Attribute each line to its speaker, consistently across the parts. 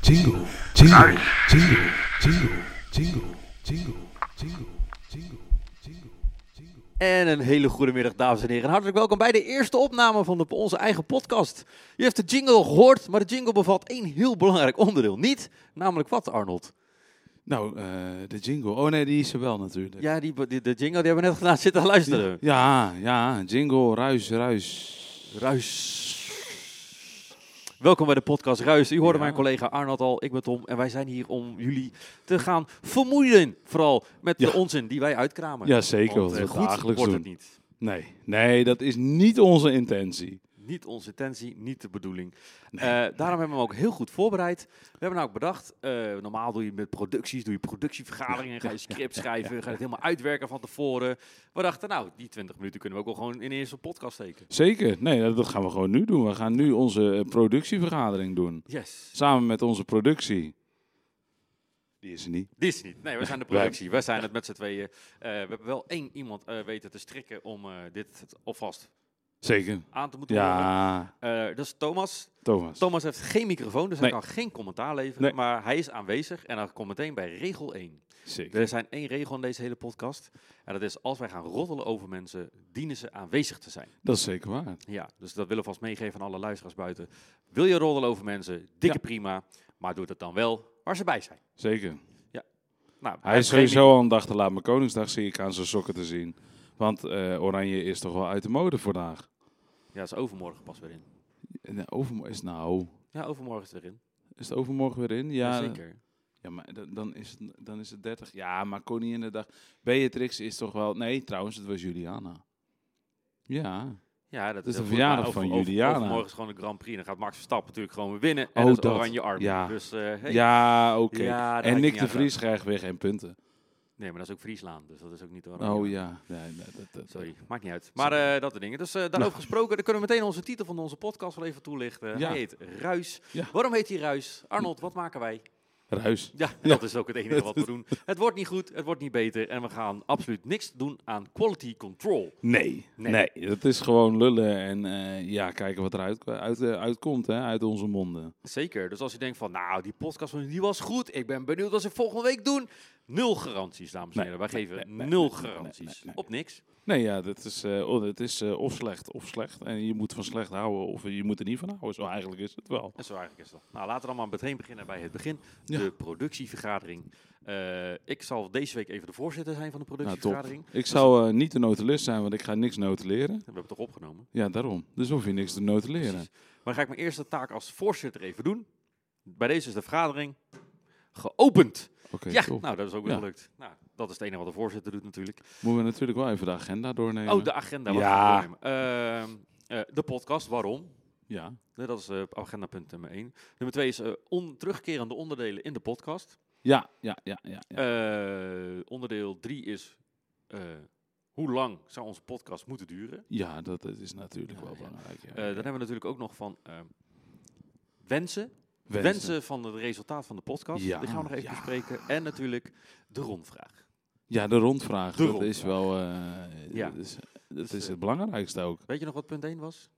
Speaker 1: jingle, jingle, jingle, jingle, jingle, jingle, jingle, jingle, jingle, jingle.
Speaker 2: En een hele goede middag, dames en heren. Hartelijk welkom bij de eerste opname van de, onze eigen podcast. U heeft de jingle gehoord, maar de jingle bevat één heel belangrijk onderdeel. Niet, namelijk wat, Arnold?
Speaker 3: Nou, eh, de jingle. Oh nee, die is er wel natuurlijk.
Speaker 2: Ja, die, die, de jingle die hebben we net gedaan zitten luisteren.
Speaker 3: ja, ja, jingle, ruis, ruis.
Speaker 2: Ruis. Welkom bij de podcast Ruis. U hoorde
Speaker 3: Ja.
Speaker 2: mijn collega Arnold al, ik ben Tom. En wij zijn hier om jullie te gaan vermoeien. Vooral met
Speaker 3: Ja.
Speaker 2: de onzin die wij uitkramen.
Speaker 3: Ja, zeker.
Speaker 2: Want,
Speaker 3: Wat
Speaker 2: eh,
Speaker 3: we
Speaker 2: goed wordt
Speaker 3: dagelijks
Speaker 2: het
Speaker 3: doen.
Speaker 2: niet.
Speaker 3: Nee, nee, dat is niet onze intentie.
Speaker 2: Niet onze intentie, niet de bedoeling. Eh, daarom hebben we hem ook heel goed voorbereid. We hebben nou ook bedacht, eh, normaal doe je met producties, doe je productievergaderingen, ga je script schrijven, ga je het helemaal uitwerken van tevoren. We dachten, nou, die 20 minuten kunnen we ook wel gewoon in de eerste podcast steken.
Speaker 3: Zeker. Nee, dat dat gaan we gewoon nu doen. We gaan nu onze eh, productievergadering doen.
Speaker 2: Yes.
Speaker 3: Samen met onze productie. Die is er niet.
Speaker 2: Dit is niet. Nee, we zijn de productie. We zijn het met z'n tweeën. Eh, we hebben wel één iemand eh, weten te strikken om eh, dit alvast
Speaker 3: Zeker.
Speaker 2: aan te moeten horen.
Speaker 3: Ja,
Speaker 2: Eh, dat is Thomas.
Speaker 3: Thomas.
Speaker 2: Thomas heeft geen microfoon, dus hij
Speaker 3: Nee.
Speaker 2: kan geen commentaar leveren.
Speaker 3: Nee.
Speaker 2: Maar hij is aanwezig en dan komt meteen bij regel 1.
Speaker 3: Zeker.
Speaker 2: Er zijn één regel in deze hele podcast. En dat is, als wij gaan roddelen over mensen, dienen ze aanwezig te zijn.
Speaker 3: Dat is zeker waar.
Speaker 2: Ja, dus dat willen we vast meegeven aan alle luisteraars buiten. Wil je roddelen over mensen, dikke prima. Maar doe dat dan wel waar ze bij zijn.
Speaker 3: Zeker.
Speaker 2: Nou,
Speaker 3: Hij
Speaker 2: heeft
Speaker 3: is
Speaker 2: geen
Speaker 3: sowieso al een dag te laat, maar Koningsdag zie ik aan zijn sokken te zien. Want eh, oranje is toch wel uit de mode vandaag.
Speaker 2: mic- Ja, is overmorgen pas weer in.
Speaker 3: En, eh, Overmorgen is nou...
Speaker 2: Ja, overmorgen is het weer in.
Speaker 3: Is het overmorgen weer in? Ja,
Speaker 2: zeker.
Speaker 3: ja maar dan, dan, is het, dan is het 30. Ja, maar Koninginnedag. Beatrix is toch wel... Nee, trouwens, het was Juliana. Ja.
Speaker 2: Ja, dat
Speaker 3: is de
Speaker 2: heel goed,
Speaker 3: verjaardag
Speaker 2: maar
Speaker 3: van
Speaker 2: over- over-
Speaker 3: Juliana.
Speaker 2: Overmorgen is gewoon de Grand Prix. Dan gaat Max Verstappen natuurlijk gewoon weer winnen. En
Speaker 3: Oh,
Speaker 2: dat is
Speaker 3: dat.
Speaker 2: oranje arm.
Speaker 3: Ja.
Speaker 2: Dus, eh, hey.
Speaker 3: Ja, oké.
Speaker 2: Ja, daar had ik
Speaker 3: en Nick
Speaker 2: niet
Speaker 3: de
Speaker 2: aan
Speaker 3: Vries krijgt weer geen punten.
Speaker 2: Nee, maar dat is ook Frieslaan. Dus dat is ook niet oranje.
Speaker 3: Oh ja. Nee, nee, dat, dat,
Speaker 2: Sorry, maakt niet uit. Maar eh, dat soort dingen. Dus eh, daarover gesproken, dan kunnen we meteen onze titel van onze podcast wel even toelichten.
Speaker 3: Ja.
Speaker 2: Hij heet Ruis.
Speaker 3: Ja.
Speaker 2: Waarom heet hij Ruis? Arnold, wat maken wij?
Speaker 3: Ruis.
Speaker 2: Ja, dat is ook het enige wat we doen. Het wordt niet goed, het wordt niet beter en we gaan absoluut niks doen aan quality control.
Speaker 3: Nee,
Speaker 2: Nee.
Speaker 3: nee, dat is gewoon lullen en eh, ja, kijken wat eruit uit, eh, uitkomt hè, uit onze monden.
Speaker 2: Zeker, dus als je denkt van, nou, die podcast van die was goed, ik ben benieuwd wat ze volgende week doen. Nul garanties, dames en
Speaker 3: Nee,
Speaker 2: heren. Wij geven
Speaker 3: nee, nee,
Speaker 2: nul
Speaker 3: nee, nee, nee,
Speaker 2: garanties
Speaker 3: nee, nee.
Speaker 2: op niks.
Speaker 3: Nee, ja, dat is, eh, oh, dat is eh, of slecht of slecht. En je moet van slecht houden of je moet er niet van houden. Zo eigenlijk is het wel.
Speaker 2: En zo eigenlijk is dat. Nou, laten we dan maar meteen beginnen bij het begin.
Speaker 3: Ja.
Speaker 2: De productievergadering. Eh, ik zal deze week even de voorzitter zijn van de
Speaker 3: Nou, top.
Speaker 2: productievergadering.
Speaker 3: Ik zou eh, niet de notulist zijn, want ik ga niks notuleren.
Speaker 2: We hebben het toch opgenomen.
Speaker 3: Ja, nou. daarom. Dus hoef je niks te notuleren.
Speaker 2: Precies. Maar dan ga ik mijn eerste taak als voorzitter even doen. Bij deze is de vergadering geopend.
Speaker 3: Oké,
Speaker 2: ja,
Speaker 3: top.
Speaker 2: nou, dat is ook weer
Speaker 3: Ja.
Speaker 2: gelukt. Nou, dat is het enige wat de voorzitter doet natuurlijk.
Speaker 3: Moeten we natuurlijk wel even de agenda doornemen.
Speaker 2: Oh, de agenda. Wat
Speaker 3: Ja.
Speaker 2: gaan we doornemen? Ehm, eh, de podcast, waarom?
Speaker 3: Ja,
Speaker 2: Nee, Dat is eh, agenda punt nummer één. Nummer twee is eh, on- terugkerende onderdelen in de podcast.
Speaker 3: ja, ja, ja. ja, ja.
Speaker 2: Eh, onderdeel 3 is eh, hoe lang zou onze podcast moeten duren?
Speaker 3: ja dat, dat is natuurlijk
Speaker 2: Ja,
Speaker 3: wel
Speaker 2: ja.
Speaker 3: belangrijk. ja.
Speaker 2: Eh, dan hebben we natuurlijk ook nog van eh, wensen. wensen.
Speaker 3: Wensen.
Speaker 2: van het resultaat van de podcast.
Speaker 3: Ja,
Speaker 2: Die gaan we nog even
Speaker 3: ja.
Speaker 2: bespreken. En natuurlijk de rondvraag.
Speaker 3: Ja, de rondvraag.
Speaker 2: De
Speaker 3: dat
Speaker 2: rondvraag.
Speaker 3: is wel. eh,
Speaker 2: Ja.
Speaker 3: Dat, is, dat
Speaker 2: Dus,
Speaker 3: is
Speaker 2: eh,
Speaker 3: het belangrijkste ook.
Speaker 2: Weet je nog wat punt 1 was?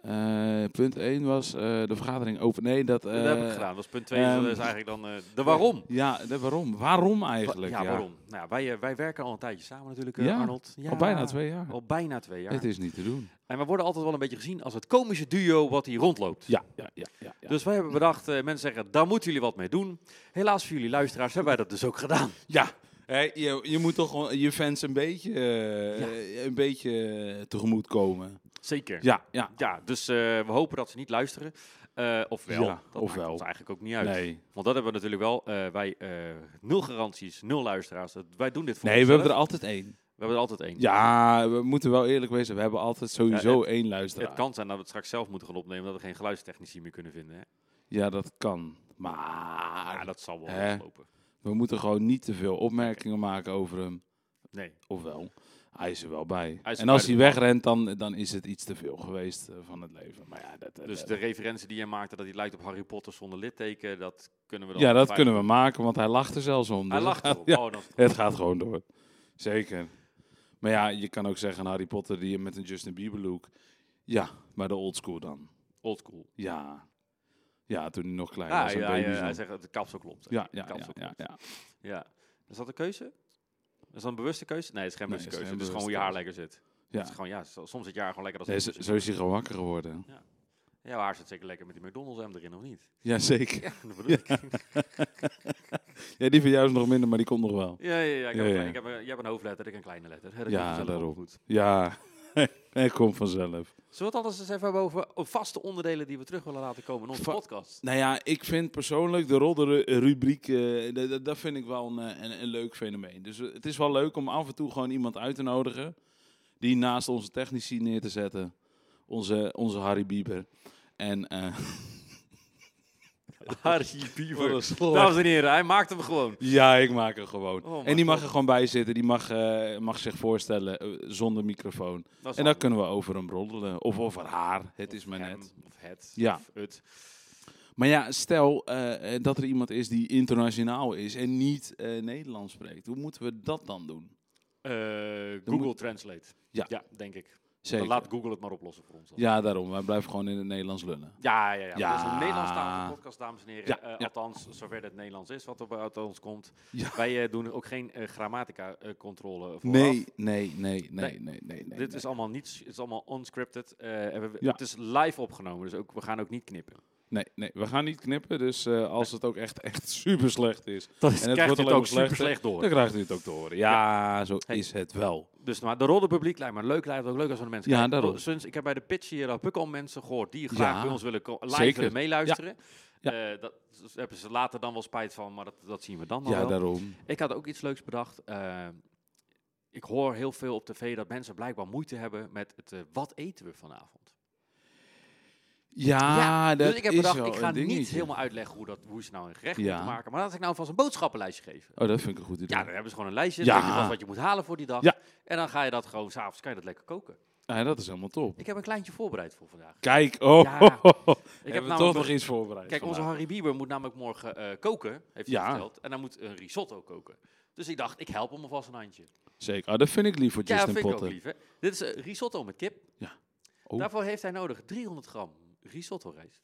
Speaker 3: Eh, punt 1 was eh, de vergadering open. Nee, dat.
Speaker 2: dat heb ik
Speaker 3: eh,
Speaker 2: gedaan. Dat was punt 2.
Speaker 3: ehm,
Speaker 2: dat is eigenlijk dan eh, de waarom.
Speaker 3: Ja, de waarom. Waarom eigenlijk?
Speaker 2: ja, waarom? Nou, ja, wij, eh, wij werken al een tijdje samen natuurlijk, eh,
Speaker 3: Ja,
Speaker 2: Arnold. Ja,
Speaker 3: Al bijna twee jaar.
Speaker 2: Al bijna twee jaar.
Speaker 3: Het is niet te doen.
Speaker 2: En we worden altijd wel een beetje gezien als het komische duo wat hier rondloopt.
Speaker 3: Ja, ja, ja. ja, ja.
Speaker 2: Dus wij hebben bedacht, eh, mensen zeggen, daar moeten jullie wat mee doen. Helaas voor jullie luisteraars hebben wij dat dus ook gedaan.
Speaker 3: ja. Hé, je, je moet toch gewoon je fans een beetje, eh, eh, een beetje eh, tegemoetkomen.
Speaker 2: Zeker. Ja,
Speaker 3: Ja, ja.
Speaker 2: dus eh, we hopen dat ze niet luisteren. Eh ofwel,
Speaker 3: Ja,
Speaker 2: dat
Speaker 3: ofwel.
Speaker 2: maakt ons eigenlijk ook niet uit.
Speaker 3: Nee.
Speaker 2: Want dat hebben we natuurlijk wel. eh, wij, eh, nul garanties, nul luisteraars. Dat- Wij doen dit voor
Speaker 3: Nee, we
Speaker 2: onszelf.
Speaker 3: hebben er altijd één.
Speaker 2: We hebben er altijd één.
Speaker 3: Ja, we moeten wel eerlijk wezen. We hebben altijd sowieso
Speaker 2: Ja, het-
Speaker 3: één
Speaker 2: Het
Speaker 3: luisteraar.
Speaker 2: kan zijn dat we het straks zelf moeten gaan opnemen, dat we geen geluidstechnici meer kunnen vinden. Hè?
Speaker 3: Ja, dat kan.
Speaker 2: Ja,
Speaker 3: Maar
Speaker 2: dat zal wel
Speaker 3: Ah, Hè?
Speaker 2: lopen.
Speaker 3: we moeten gewoon niet te veel opmerkingen maken over hem.
Speaker 2: Nee,
Speaker 3: Ofwel, hij is er wel bij.
Speaker 2: Hij is er
Speaker 3: en als
Speaker 2: bij
Speaker 3: hij
Speaker 2: de-
Speaker 3: wegrent, dan, dan is het iets te veel geweest eh, van het leven. Maar ja, dat, eh, dat-
Speaker 2: dus
Speaker 3: dat-
Speaker 2: de referentie die je maakte, dat hij lijkt op Harry Potter zonder litteken, dat kunnen we dan...
Speaker 3: ja, dat
Speaker 2: veilig-
Speaker 3: kunnen we maken, want hij lacht er zelfs om.
Speaker 2: Hij
Speaker 3: Dus
Speaker 2: lacht
Speaker 3: het
Speaker 2: erop.
Speaker 3: gaat- ja,
Speaker 2: Oh, dan is het
Speaker 3: het gaat gewoon door. Zeker. Maar ja, je kan ook zeggen Harry Potter die met een Justin Bieber look. Ja, maar de old school dan.
Speaker 2: old school.
Speaker 3: Ja. Ja, toen hij nog klein
Speaker 2: Ah,
Speaker 3: was. Een
Speaker 2: ja,
Speaker 3: baby
Speaker 2: ja,
Speaker 3: zo.
Speaker 2: hij zegt dat de kapsel klopt.
Speaker 3: ja,
Speaker 2: De
Speaker 3: ja, ja,
Speaker 2: kapsel
Speaker 3: ja,
Speaker 2: klopt.
Speaker 3: ja.
Speaker 2: Ja. Is dat een keuze? Is dat een bewuste keuze? Nee, het is geen
Speaker 3: Nee,
Speaker 2: bewuste
Speaker 3: het is
Speaker 2: keuze.
Speaker 3: geen
Speaker 2: Het is gewoon hoe je
Speaker 3: bewuste
Speaker 2: haar
Speaker 3: keuze.
Speaker 2: lekker zit.
Speaker 3: Ja.
Speaker 2: Het is gewoon, ja, zo- soms zit je haar gewoon lekker als
Speaker 3: Nee,
Speaker 2: het
Speaker 3: zo,
Speaker 2: moet
Speaker 3: zo is hij gewoon wakker geworden.
Speaker 2: zitten. Ja, maar haar zit zeker lekker met die McDonald's hem erin, of niet?
Speaker 3: Jazeker.
Speaker 2: Ja, dat bedoel ik. Ja,
Speaker 3: Ja, die van jou is nog minder, maar die komt nog wel.
Speaker 2: ja, ja. Ik heb,
Speaker 3: Ja,
Speaker 2: een
Speaker 3: ja.
Speaker 2: klein- Ik heb, een- jij hebt een hoofdletter, ik een kleine letter. Dat komt
Speaker 3: Ja,
Speaker 2: vanzelf wel
Speaker 3: daarom.
Speaker 2: Goed.
Speaker 3: Ja, hij komt vanzelf.
Speaker 2: Zullen we het anders eens even hebben over over vaste onderdelen die we terug willen laten komen in onze
Speaker 3: Va-
Speaker 2: podcast?
Speaker 3: Nou ja, ik vind persoonlijk de roddere rubriek, eh, dat- dat- dat vind ik wel een, eh, een, een leuk fenomeen. Dus eh, het is wel leuk om af en toe gewoon iemand uit te nodigen, die naast onze technici neer te zetten. Onze, onze Harry Bieber. En, eh,
Speaker 2: Harry
Speaker 3: wat een
Speaker 2: Bieber.
Speaker 3: slecht-
Speaker 2: Dames en heren, hij maakt hem gewoon.
Speaker 3: ja, ik maak er gewoon.
Speaker 2: Nou, Oh,
Speaker 3: en
Speaker 2: mijn
Speaker 3: die mag
Speaker 2: God.
Speaker 3: er gewoon bij zitten, die mag, eh, mag zich voorstellen eh, zonder microfoon.
Speaker 2: Dat is
Speaker 3: En dan
Speaker 2: handig.
Speaker 3: kunnen we over hem roddelen, of over haar, het is maar
Speaker 2: Of
Speaker 3: net.
Speaker 2: hem, Of het.
Speaker 3: Ja.
Speaker 2: Of het.
Speaker 3: Maar ja, stel eh, eh, dat er iemand is die internationaal is en niet eh, Nederlands spreekt. Hoe moeten we dat dan doen?
Speaker 2: Eh,
Speaker 3: Dan
Speaker 2: Google
Speaker 3: moet-
Speaker 2: Translate.
Speaker 3: Ja.
Speaker 2: denk ik. Dan
Speaker 3: Zeker.
Speaker 2: laat Google het maar oplossen voor ons. Dan.
Speaker 3: Ja, daarom. Wij blijven gewoon in het Nederlands lullen.
Speaker 2: Ja, ja, ja.
Speaker 3: Ja.
Speaker 2: ja. is een Nederlandstalige podcast, dames en heren.
Speaker 3: Ja,
Speaker 2: Eh,
Speaker 3: ja.
Speaker 2: Althans, zover het Nederlands is wat er uit ons komt.
Speaker 3: Ja.
Speaker 2: Wij eh, doen ook geen eh, grammatica-controle vooraf.
Speaker 3: Nee, nee, nee, nee, nee, nee, nee.
Speaker 2: Dit is allemaal niets, het is allemaal unscripted. eh, en we-
Speaker 3: Ja.
Speaker 2: Het is live opgenomen, dus ook, we gaan ook niet knippen.
Speaker 3: Nee, nee, we gaan niet knippen. Dus eh, als het ook echt, echt super slecht is,
Speaker 2: Dat
Speaker 3: het wordt alleen
Speaker 2: ook
Speaker 3: maar slechter.
Speaker 2: super slecht door.
Speaker 3: dan krijgt u het ook te horen. Ja, zo
Speaker 2: Hey.
Speaker 3: is het wel.
Speaker 2: Dus maar de rode publiek lijkt me leuk, lijkt het ook leuk als we de mensen
Speaker 3: Ja,
Speaker 2: kijken. Oh,
Speaker 3: daarom.
Speaker 2: Sinds, ik heb bij de pitch hier ook al mensen gehoord die graag
Speaker 3: Ja,
Speaker 2: bij ons willen ko- live
Speaker 3: zeker.
Speaker 2: willen meeluisteren.
Speaker 3: Ja.
Speaker 2: Eh, dat daar hebben ze later dan wel spijt van, maar dat, dat zien we dan nog
Speaker 3: Ja,
Speaker 2: wel.
Speaker 3: daarom.
Speaker 2: Ik had ook iets leuks bedacht. Eh, ik hoor heel veel op tv dat mensen blijkbaar moeite hebben met het eh, wat eten we vanavond.
Speaker 3: Ja, Ah, dat
Speaker 2: dus ik heb
Speaker 3: is
Speaker 2: bedacht,
Speaker 3: wel
Speaker 2: ik ga
Speaker 3: een dingetje.
Speaker 2: niet helemaal uitleggen hoe, dat, hoe ze nou een gerecht
Speaker 3: Ja.
Speaker 2: moeten maken, maar laat ik nou vast een boodschappenlijstje geven.
Speaker 3: Oh, dat vind ik een goed idee.
Speaker 2: Ja, dan hebben ze gewoon een lijstje,
Speaker 3: Ja.
Speaker 2: dan weet je vast wat je moet halen voor die dag.
Speaker 3: Ja.
Speaker 2: En dan ga je dat gewoon, s'avonds kan je dat lekker koken.
Speaker 3: Ja, dat is helemaal top.
Speaker 2: Ik heb een kleintje voorbereid voor vandaag.
Speaker 3: Kijk, oh,
Speaker 2: Ja.
Speaker 3: ik
Speaker 2: Ik
Speaker 3: heb
Speaker 2: heb
Speaker 3: we
Speaker 2: namelijk
Speaker 3: toch
Speaker 2: nog-
Speaker 3: nog iets voorbereid.
Speaker 2: Kijk, onze
Speaker 3: vandaag.
Speaker 2: Harry Bieber moet namelijk morgen eh, koken, heeft hij
Speaker 3: Ja.
Speaker 2: verteld. En hij moet een risotto koken. Dus ik dacht, ik help hem alvast een handje.
Speaker 3: Zeker. Oh, dat vind ik lief voor
Speaker 2: Ja, dat
Speaker 3: Justin
Speaker 2: vind ik ook
Speaker 3: Potter.
Speaker 2: lief, hè. Dit is eh, risotto met kip.
Speaker 3: Ja. Oh.
Speaker 2: Daarvoor heeft hij nodig 300 gram risotto rijst.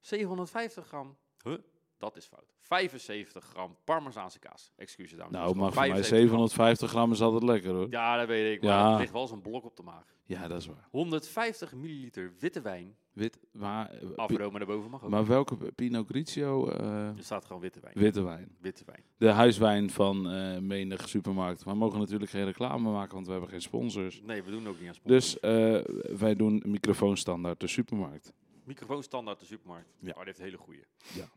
Speaker 2: 750 gram, huh? dat is fout. 75 gram parmezaanse kaas. Excuses, dames en
Speaker 3: Nou,
Speaker 2: heren.
Speaker 3: maar voor mij
Speaker 2: 75 gram.
Speaker 3: 750 gram is altijd lekker hoor. Ja,
Speaker 2: Ja, dat weet ik, maar
Speaker 3: Ja.
Speaker 2: het ligt wel als een blok op de maag.
Speaker 3: dat is waar.
Speaker 2: 150 milliliter witte wijn.
Speaker 3: Wit, maar, eh, pi-
Speaker 2: Afromen daarboven mag ook.
Speaker 3: maar welke Pinot Grigio? eh,
Speaker 2: Er staat gewoon witte wijn.
Speaker 3: witte wijn.
Speaker 2: Witte wijn.
Speaker 3: De huiswijn van eh menig supermarkt. We mogen natuurlijk geen reclame maken, want we hebben geen sponsors.
Speaker 2: Nee, we doen ook niet aan sponsors.
Speaker 3: Dus eh, wij doen microfoonstandaard de supermarkt.
Speaker 2: Microfoon standaard de supermarkt.
Speaker 3: Ja.
Speaker 2: Ja. Oh, dit heeft een hele goede.
Speaker 3: Ja.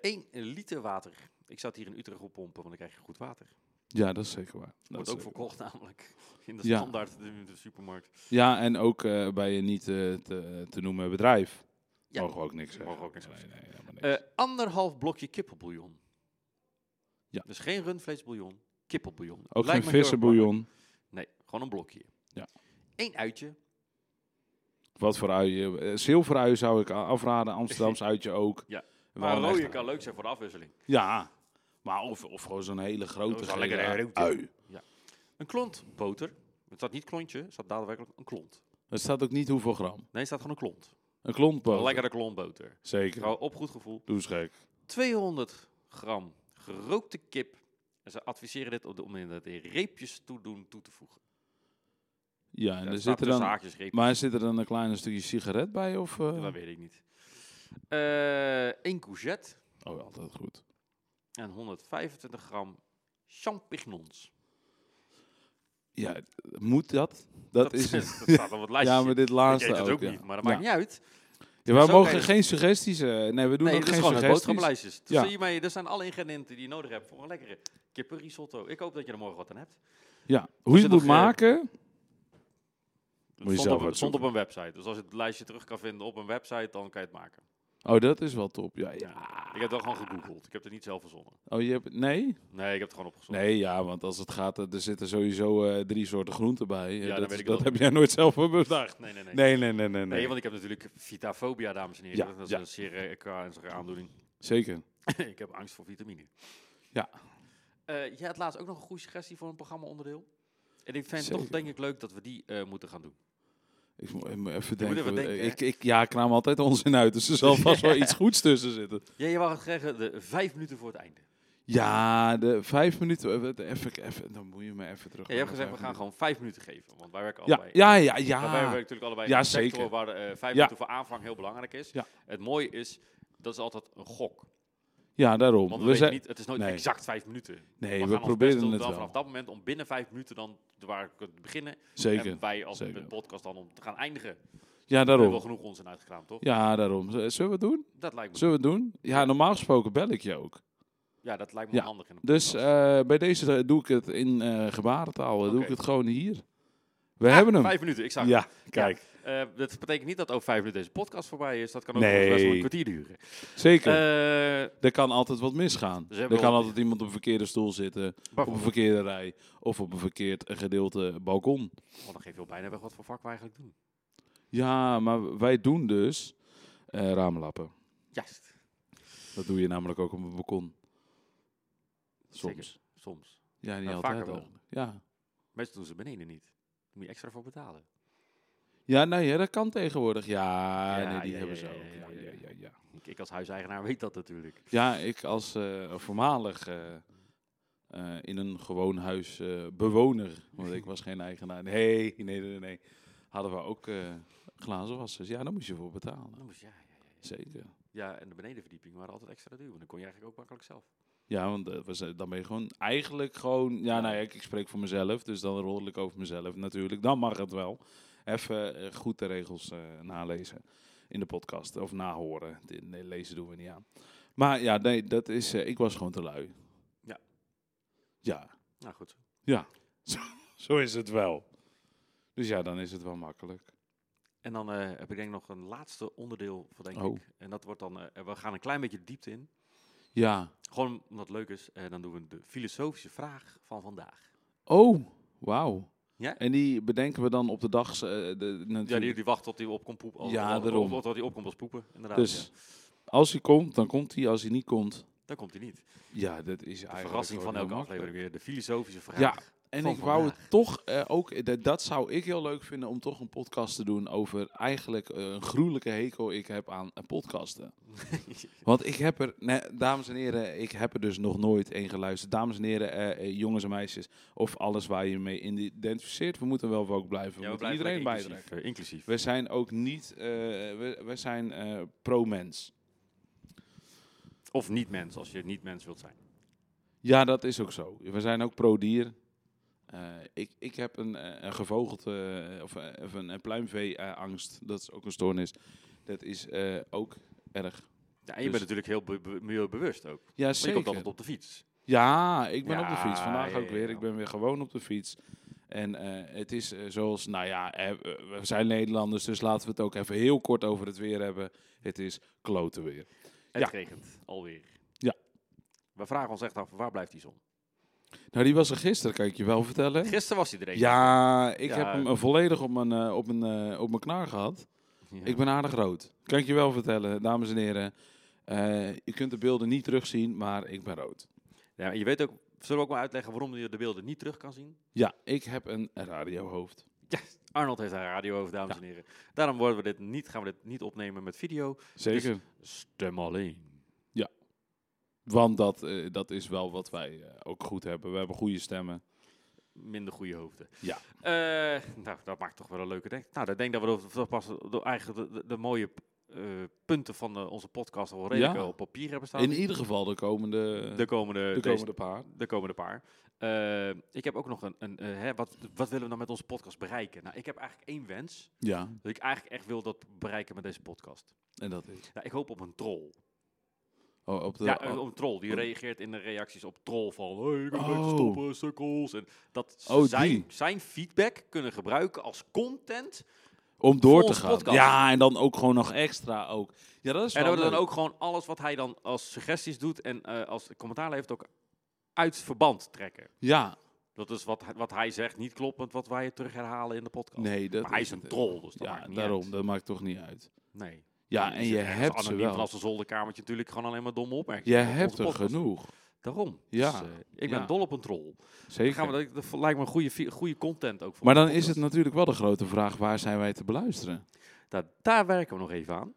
Speaker 2: 1 liter water. Ik zat hier in Utrecht op pompen, want dan krijg je goed water.
Speaker 3: Ja, dat is zeker waar. Dat
Speaker 2: Wordt
Speaker 3: is
Speaker 2: ook
Speaker 3: zeker
Speaker 2: verkocht namelijk. In de
Speaker 3: Ja.
Speaker 2: standaard de, de supermarkt.
Speaker 3: waar. Ja, en ook eh, bij een niet eh, te, te noemen bedrijf.
Speaker 2: Ja.
Speaker 3: Mogen we ook niks zeggen.
Speaker 2: Mogen we ook niks
Speaker 3: Nee, nee, helemaal niks.
Speaker 2: Eh, anderhalf blokje kippenbouillon.
Speaker 3: Ja.
Speaker 2: Dus geen rundvleesbouillon, kippenbouillon.
Speaker 3: ook geen
Speaker 2: Lijkt me heel erg
Speaker 3: vissenbouillon.
Speaker 2: belangrijk. Nee, gewoon een blokje.
Speaker 3: Ja.
Speaker 2: Eén uitje.
Speaker 3: Wat voor uien? Eh, Zilveruien zou ik a- afraden. Amsterdams uitje ook.
Speaker 2: Ja.
Speaker 3: Wel
Speaker 2: Maar
Speaker 3: een
Speaker 2: een rode
Speaker 3: echt-
Speaker 2: kan leuk zijn voor de afwisseling.
Speaker 3: Ja. Maar of, of gewoon zo'n hele
Speaker 2: Dat
Speaker 3: grote
Speaker 2: is wel lekker
Speaker 3: gele
Speaker 2: een roodje.
Speaker 3: ui.
Speaker 2: Een klont boter. Het staat niet klontje, het staat daadwerkelijk een klont.
Speaker 3: Er staat ook niet hoeveel gram.
Speaker 2: Nee, het staat gewoon een klont.
Speaker 3: Een klontboot.
Speaker 2: Een lekkere klont boter.
Speaker 3: Zeker.
Speaker 2: Gewoon op goed gevoel.
Speaker 3: Doe eens gek.
Speaker 2: 200 gram gerookte kip. En ze adviseren dit op de, om inderdaad in reepjes toedoen toe te voegen.
Speaker 3: Ja, en
Speaker 2: Ja,
Speaker 3: er
Speaker 2: staat
Speaker 3: zit er
Speaker 2: tussen
Speaker 3: dan,
Speaker 2: haakjes reepjes.
Speaker 3: maar zit er dan een klein stukje sigaret bij? Of, eh?
Speaker 2: Dat weet ik niet. Eh 1 courgette
Speaker 3: Oh, altijd goed.
Speaker 2: en 125 gram champignons.
Speaker 3: Ja, moet dat? Dat, is
Speaker 2: dat
Speaker 3: het.
Speaker 2: staat op het lijstje.
Speaker 3: Ja, maar dit
Speaker 2: ik
Speaker 3: laatste
Speaker 2: eet het ook
Speaker 3: ja.
Speaker 2: niet, maar dat
Speaker 3: Ja.
Speaker 2: maakt niet uit.
Speaker 3: Ja, we
Speaker 2: Zo kan
Speaker 3: mogen
Speaker 2: je-
Speaker 3: geen suggesties... eh, nee, we doen
Speaker 2: nee,
Speaker 3: ook
Speaker 2: dit is
Speaker 3: geen
Speaker 2: gewoon een
Speaker 3: suggesties.
Speaker 2: boodschappenlijstjes. Dus
Speaker 3: Ja.
Speaker 2: hiermee, er zijn alle ingrediënten die je nodig hebt voor een lekkere kippenrisotto. Ik hoop dat je er morgen wat aan hebt.
Speaker 3: Ja, hoe je
Speaker 2: zit
Speaker 3: het
Speaker 2: nog,
Speaker 3: moet
Speaker 2: eh,
Speaker 3: maken...
Speaker 2: Het
Speaker 3: Moet je
Speaker 2: stond,
Speaker 3: zelf
Speaker 2: op, het stond
Speaker 3: uitzoeken.
Speaker 2: op een website. Dus als je het lijstje terug kan vinden op een website, dan kan je het maken.
Speaker 3: Oh, dat is wel top. Ja, ja.
Speaker 2: Ik heb het wel gewoon gegoogeld. Ik heb het niet zelf verzonnen.
Speaker 3: Oh, je hebt... Nee?
Speaker 2: Nee, ik heb het gewoon opgezocht.
Speaker 3: Nee, ja, want als het gaat... eh, Er zitten sowieso eh, drie soorten groenten bij.
Speaker 2: dan
Speaker 3: Eh, dat
Speaker 2: weet
Speaker 3: is-
Speaker 2: ik
Speaker 3: dat
Speaker 2: dat.
Speaker 3: heb jij nooit zelf bedacht.
Speaker 2: Nee, nee, nee.
Speaker 3: Nee, nee, nee, nee.
Speaker 2: Nee,
Speaker 3: nee.
Speaker 2: want ik heb natuurlijk vitafobia, dames en heren.
Speaker 3: Ja,
Speaker 2: dat is
Speaker 3: ja.
Speaker 2: een zeer eh, ernstige aandoening.
Speaker 3: Zeker.
Speaker 2: ik heb angst voor vitamine.
Speaker 3: Ja.
Speaker 2: Eh jij had laatst ook nog een goede suggestie voor een programma-onderdeel. En ik vind het toch
Speaker 3: Zeker.
Speaker 2: denk ik leuk dat we die eh, moeten gaan doen.
Speaker 3: Ik moet ik moet even
Speaker 2: moet
Speaker 3: denken.
Speaker 2: even
Speaker 3: wat-
Speaker 2: denken,
Speaker 3: ik, ik, ja, ik kraam altijd onzin uit, dus er zal vast wel iets goeds tussen zitten.
Speaker 2: Ja, je mag het zeggen, de vijf minuten voor het einde. Ja,
Speaker 3: Ja, de vijf minuten. eh, Even, even, dan moet je me even terug.
Speaker 2: je hebt gezegd, we gaan gewoon vijf minuten geven. Want wij werken
Speaker 3: Ja,
Speaker 2: allebei.
Speaker 3: ja, ja,
Speaker 2: Wij werken
Speaker 3: ja.
Speaker 2: natuurlijk allebei
Speaker 3: Ja,
Speaker 2: in een sector
Speaker 3: zeker.
Speaker 2: waar eh, vijf minuten voor aanvang heel belangrijk is.
Speaker 3: Ja.
Speaker 2: Het mooie is, dat is altijd een gok.
Speaker 3: Ja, daarom.
Speaker 2: Want
Speaker 3: We
Speaker 2: we weten
Speaker 3: zijn-
Speaker 2: niet, het is nooit
Speaker 3: nee.
Speaker 2: exact vijf minuten.
Speaker 3: Nee,
Speaker 2: gaan
Speaker 3: we
Speaker 2: ons
Speaker 3: proberen
Speaker 2: best doen
Speaker 3: het
Speaker 2: dan
Speaker 3: wel.
Speaker 2: vanaf dat moment om binnen vijf minuten dan waar we kunnen beginnen.
Speaker 3: Zeker.
Speaker 2: En wij als
Speaker 3: zeker.
Speaker 2: met podcast dan om te gaan eindigen. We
Speaker 3: Ja,
Speaker 2: hebben wel
Speaker 3: daarom.
Speaker 2: genoeg onzin uitgekraamd, toch?
Speaker 3: Ja, daarom. Z- Zullen we het doen?
Speaker 2: Dat lijkt me,
Speaker 3: Zullen we het doen? Ja, normaal gesproken bel ik je ook.
Speaker 2: ja, dat lijkt me
Speaker 3: Ja.
Speaker 2: handig. In een
Speaker 3: Dus
Speaker 2: podcast.
Speaker 3: eh, bij deze eh, doe ik het in eh, gebarentaal. eh, Doe
Speaker 2: Oké.
Speaker 3: ik het gewoon hier. We
Speaker 2: Ah,
Speaker 3: hebben hem.
Speaker 2: Vijf minuten, exact.
Speaker 3: Ja, kijk.
Speaker 2: Eh, dat betekent niet dat over vijf minuten deze podcast voorbij is. Dat kan ook
Speaker 3: Nee.
Speaker 2: nog best wel een kwartier duren.
Speaker 3: Zeker.
Speaker 2: Eh
Speaker 3: er kan altijd wat misgaan.
Speaker 2: Dus
Speaker 3: er
Speaker 2: hebben we
Speaker 3: kan
Speaker 2: al-
Speaker 3: altijd iemand op een verkeerde stoel zitten. Op een
Speaker 2: bijvoorbeeld,
Speaker 3: verkeerde rij. Of op een verkeerd eh, gedeelte balkon.
Speaker 2: want Oh, dan geef je al bijna weg wat voor vak we eigenlijk doen.
Speaker 3: Ja, maar wij doen dus eh ramenlappen.
Speaker 2: Juist.
Speaker 3: Dat doe je namelijk ook op een balkon. Soms.
Speaker 2: Zeker. Soms.
Speaker 3: Ja, niet
Speaker 2: Nou,
Speaker 3: altijd.
Speaker 2: vaker wel.
Speaker 3: eigenlijk. Ja.
Speaker 2: Mensen doen ze beneden niet. Daar moet je extra voor betalen.
Speaker 3: Ja, nou ja, dat kan tegenwoordig. Ja,
Speaker 2: Ja,
Speaker 3: nee, die
Speaker 2: ja,
Speaker 3: hebben
Speaker 2: ja,
Speaker 3: ze
Speaker 2: ja,
Speaker 3: ook.
Speaker 2: ja, ja,
Speaker 3: Ja, ja,
Speaker 2: ja.
Speaker 3: ja, ja.
Speaker 2: Ik, ik als huiseigenaar weet dat natuurlijk.
Speaker 3: Ja, ik als eh, voormalig eh, eh, in een gewoon huis eh, bewoner, want ik was geen eigenaar. Nee, nee, nee, nee. Hadden we ook eh glazenwassers. Ja, daar moest je voor betalen.
Speaker 2: Dan moest je- ja, ja, ja, ja.
Speaker 3: Zeker.
Speaker 2: ja, en de benedenverdieping waren altijd extra duur. Want dan kon je eigenlijk ook makkelijk zelf.
Speaker 3: Ja, want eh, we zijn- dan ben je gewoon eigenlijk gewoon... Ja, nou ja, ik, ik spreek voor mezelf, dus dan rol ik over mezelf natuurlijk. Dan mag het wel. Even eh, goed de regels eh, nalezen in de podcast. Of nahoren. De- Nee, lezen doen we niet aan. Maar ja, nee, dat is... eh, ik was gewoon te lui.
Speaker 2: Ja.
Speaker 3: Ja,
Speaker 2: Nou goed. zo.
Speaker 3: Zo is het wel. Dus ja, dan is het wel makkelijk.
Speaker 2: En dan eh, heb ik denk ik nog een laatste onderdeel voor denk
Speaker 3: Oh.
Speaker 2: ik. En dat wordt dan, eh, we gaan een klein beetje de diepte in.
Speaker 3: Ja.
Speaker 2: Gewoon omdat het leuk is. En dan doen we de filosofische vraag van vandaag.
Speaker 3: Oh, wauw.
Speaker 2: Ja?
Speaker 3: En die bedenken we dan op de dag. eh, de, natuurlijk.
Speaker 2: Ja, die, die wacht tot hij opkomt poepen. Als,
Speaker 3: Ja,
Speaker 2: als-
Speaker 3: daarom.
Speaker 2: of Tot hij opkomt als poepen, inderdaad.
Speaker 3: dus
Speaker 2: ja.
Speaker 3: als hij komt, dan komt hij. Als hij niet komt,
Speaker 2: Dan komt hij niet. De
Speaker 3: ja, dat is eigenlijk.
Speaker 2: verrassing van
Speaker 3: gewoon
Speaker 2: elke
Speaker 3: heel
Speaker 2: aflevering weer. De filosofische vraag.
Speaker 3: Ja, En
Speaker 2: van
Speaker 3: ik wou
Speaker 2: vandaag.
Speaker 3: het toch eh, ook, eh, dat, dat zou ik heel leuk vinden om toch een podcast te doen over eigenlijk eh, een gruwelijke hekel ik heb aan eh, podcasten. Want ik heb er, nee, dames en heren, ik heb er dus nog nooit één geluisterd. Dames en heren, eh, eh, jongens en meisjes, of alles waar je mee identificeert, we moeten wel ook blijven. We
Speaker 2: Ja, we
Speaker 3: moeten
Speaker 2: blijven
Speaker 3: iedereen
Speaker 2: lekker inclusief,
Speaker 3: bijdragen.
Speaker 2: eh, inclusief.
Speaker 3: We zijn ook niet, eh, we, we zijn eh, pro-mens.
Speaker 2: Of niet mens, als je niet mens wilt zijn.
Speaker 3: Ja, dat is ook zo. We zijn ook pro-dier. Eh, ik, ik heb een, eh, een gevogeld eh, of, eh, of een, een pluimvee-angst. dat is ook een stoornis. Dat is eh, ook erg.
Speaker 2: Ja, en je
Speaker 3: Dus-
Speaker 2: bent natuurlijk heel be- be- milieubewust ook. Maar
Speaker 3: Ja,
Speaker 2: je komt
Speaker 3: zeker.
Speaker 2: altijd op de fiets.
Speaker 3: Ja, ik ben op de
Speaker 2: Ja,
Speaker 3: fiets. Vandaag
Speaker 2: ja,
Speaker 3: ook
Speaker 2: ja,
Speaker 3: weer.
Speaker 2: ja.
Speaker 3: Ik ben weer gewoon op de fiets. En eh, het is eh, zoals, nou ja, eh, we zijn Nederlanders, dus laten we het ook even heel kort over het weer hebben. Het is klote weer.
Speaker 2: Het
Speaker 3: Ja.
Speaker 2: regent alweer.
Speaker 3: Ja.
Speaker 2: We vragen ons echt af, waar blijft die zon?
Speaker 3: Nou, die was er gisteren, kan ik je wel vertellen.
Speaker 2: Gisteren was hij er even.
Speaker 3: Ja, ik
Speaker 2: Ja.
Speaker 3: heb hem eh, volledig op mijn, eh, op, mijn, eh, op mijn knar gehad.
Speaker 2: Ja.
Speaker 3: Ik ben aardig rood. Kan ik je wel vertellen, dames en heren. Eh, je kunt de beelden niet terugzien, maar ik ben rood.
Speaker 2: Ja, en je weet ook, zullen we ook maar uitleggen waarom je de beelden niet terug kan zien?
Speaker 3: Ja, ik heb een radiohoofd.
Speaker 2: Ja, Arnold heeft een radio over, dames
Speaker 3: Ja.
Speaker 2: en heren. Daarom worden we dit niet, gaan we dit niet opnemen met video.
Speaker 3: Zeker.
Speaker 2: Stem alleen.
Speaker 3: Want dat, eh, dat is wel wat wij eh, ook goed hebben. We hebben goede stemmen.
Speaker 2: Minder goede hoofden.
Speaker 3: Ja.
Speaker 2: Eh, nou, dat maakt toch wel een leuke denk. Nou, ik denk dat we door- door pas door eigenlijk de, de, de mooie eh, punten van eh, onze podcast al wel redelijk eh,
Speaker 3: Ja.
Speaker 2: op papier hebben staan.
Speaker 3: In ieder geval de komende,
Speaker 2: de komende,
Speaker 3: de
Speaker 2: deze-
Speaker 3: komende paar.
Speaker 2: de komende paar. Eh, ik heb ook nog een. een eh, hè, wat, wat willen we nou met onze podcast bereiken? Nou, ik heb eigenlijk één wens.
Speaker 3: Ja,
Speaker 2: Dat ik eigenlijk echt wil dat bereiken met deze podcast.
Speaker 3: en dat is.
Speaker 2: Nou, ik hoop op een troll.
Speaker 3: Oh, op de,
Speaker 2: ja, eh, op een troll. Die
Speaker 3: oh.
Speaker 2: reageert in de reacties op troll van... Hey, ik ben
Speaker 3: Oh.
Speaker 2: te stoppen, sukkels. En dat
Speaker 3: Oh, die.
Speaker 2: zijn, zijn feedback kunnen gebruiken als content.
Speaker 3: om door
Speaker 2: voor
Speaker 3: te
Speaker 2: ons
Speaker 3: gaan.
Speaker 2: podcast.
Speaker 3: Ja, en dan ook gewoon nog extra. Ook. Ja, dat is
Speaker 2: En
Speaker 3: wel
Speaker 2: dat we dan
Speaker 3: leuk.
Speaker 2: ook gewoon alles wat hij dan als suggesties doet... en eh, als commentaar levert ook uit verband trekken.
Speaker 3: Ja,
Speaker 2: Dat is wat, hij- wat hij zegt niet kloppend wat wij terug herhalen in de podcast.
Speaker 3: nee. Dat
Speaker 2: maar hij is
Speaker 3: het. eh,
Speaker 2: een troll, dus dat
Speaker 3: Ja,
Speaker 2: maakt niet
Speaker 3: daarom.
Speaker 2: uit.
Speaker 3: Dat maakt toch niet uit.
Speaker 2: Nee.
Speaker 3: Ja,
Speaker 2: Die
Speaker 3: en
Speaker 2: zit
Speaker 3: je
Speaker 2: ergens
Speaker 3: hebt ze
Speaker 2: anoniem
Speaker 3: wel.
Speaker 2: vanaf zijn zolderkamertje natuurlijk gewoon alleen maar domme
Speaker 3: Je
Speaker 2: opmerkingen. op onze
Speaker 3: hebt er
Speaker 2: podcast.
Speaker 3: genoeg.
Speaker 2: Daarom.
Speaker 3: Ja,
Speaker 2: Dus, eh, ik ben
Speaker 3: ja.
Speaker 2: dol op een troll.
Speaker 3: Zeker.
Speaker 2: Gaan we, dat dat lijkt me goede, vi- goede content ook. Voor
Speaker 3: maar
Speaker 2: de
Speaker 3: dan is het
Speaker 2: podcast.
Speaker 3: natuurlijk wel de grote vraag, waar zijn wij te beluisteren?
Speaker 2: Daar, daar werken we nog even aan.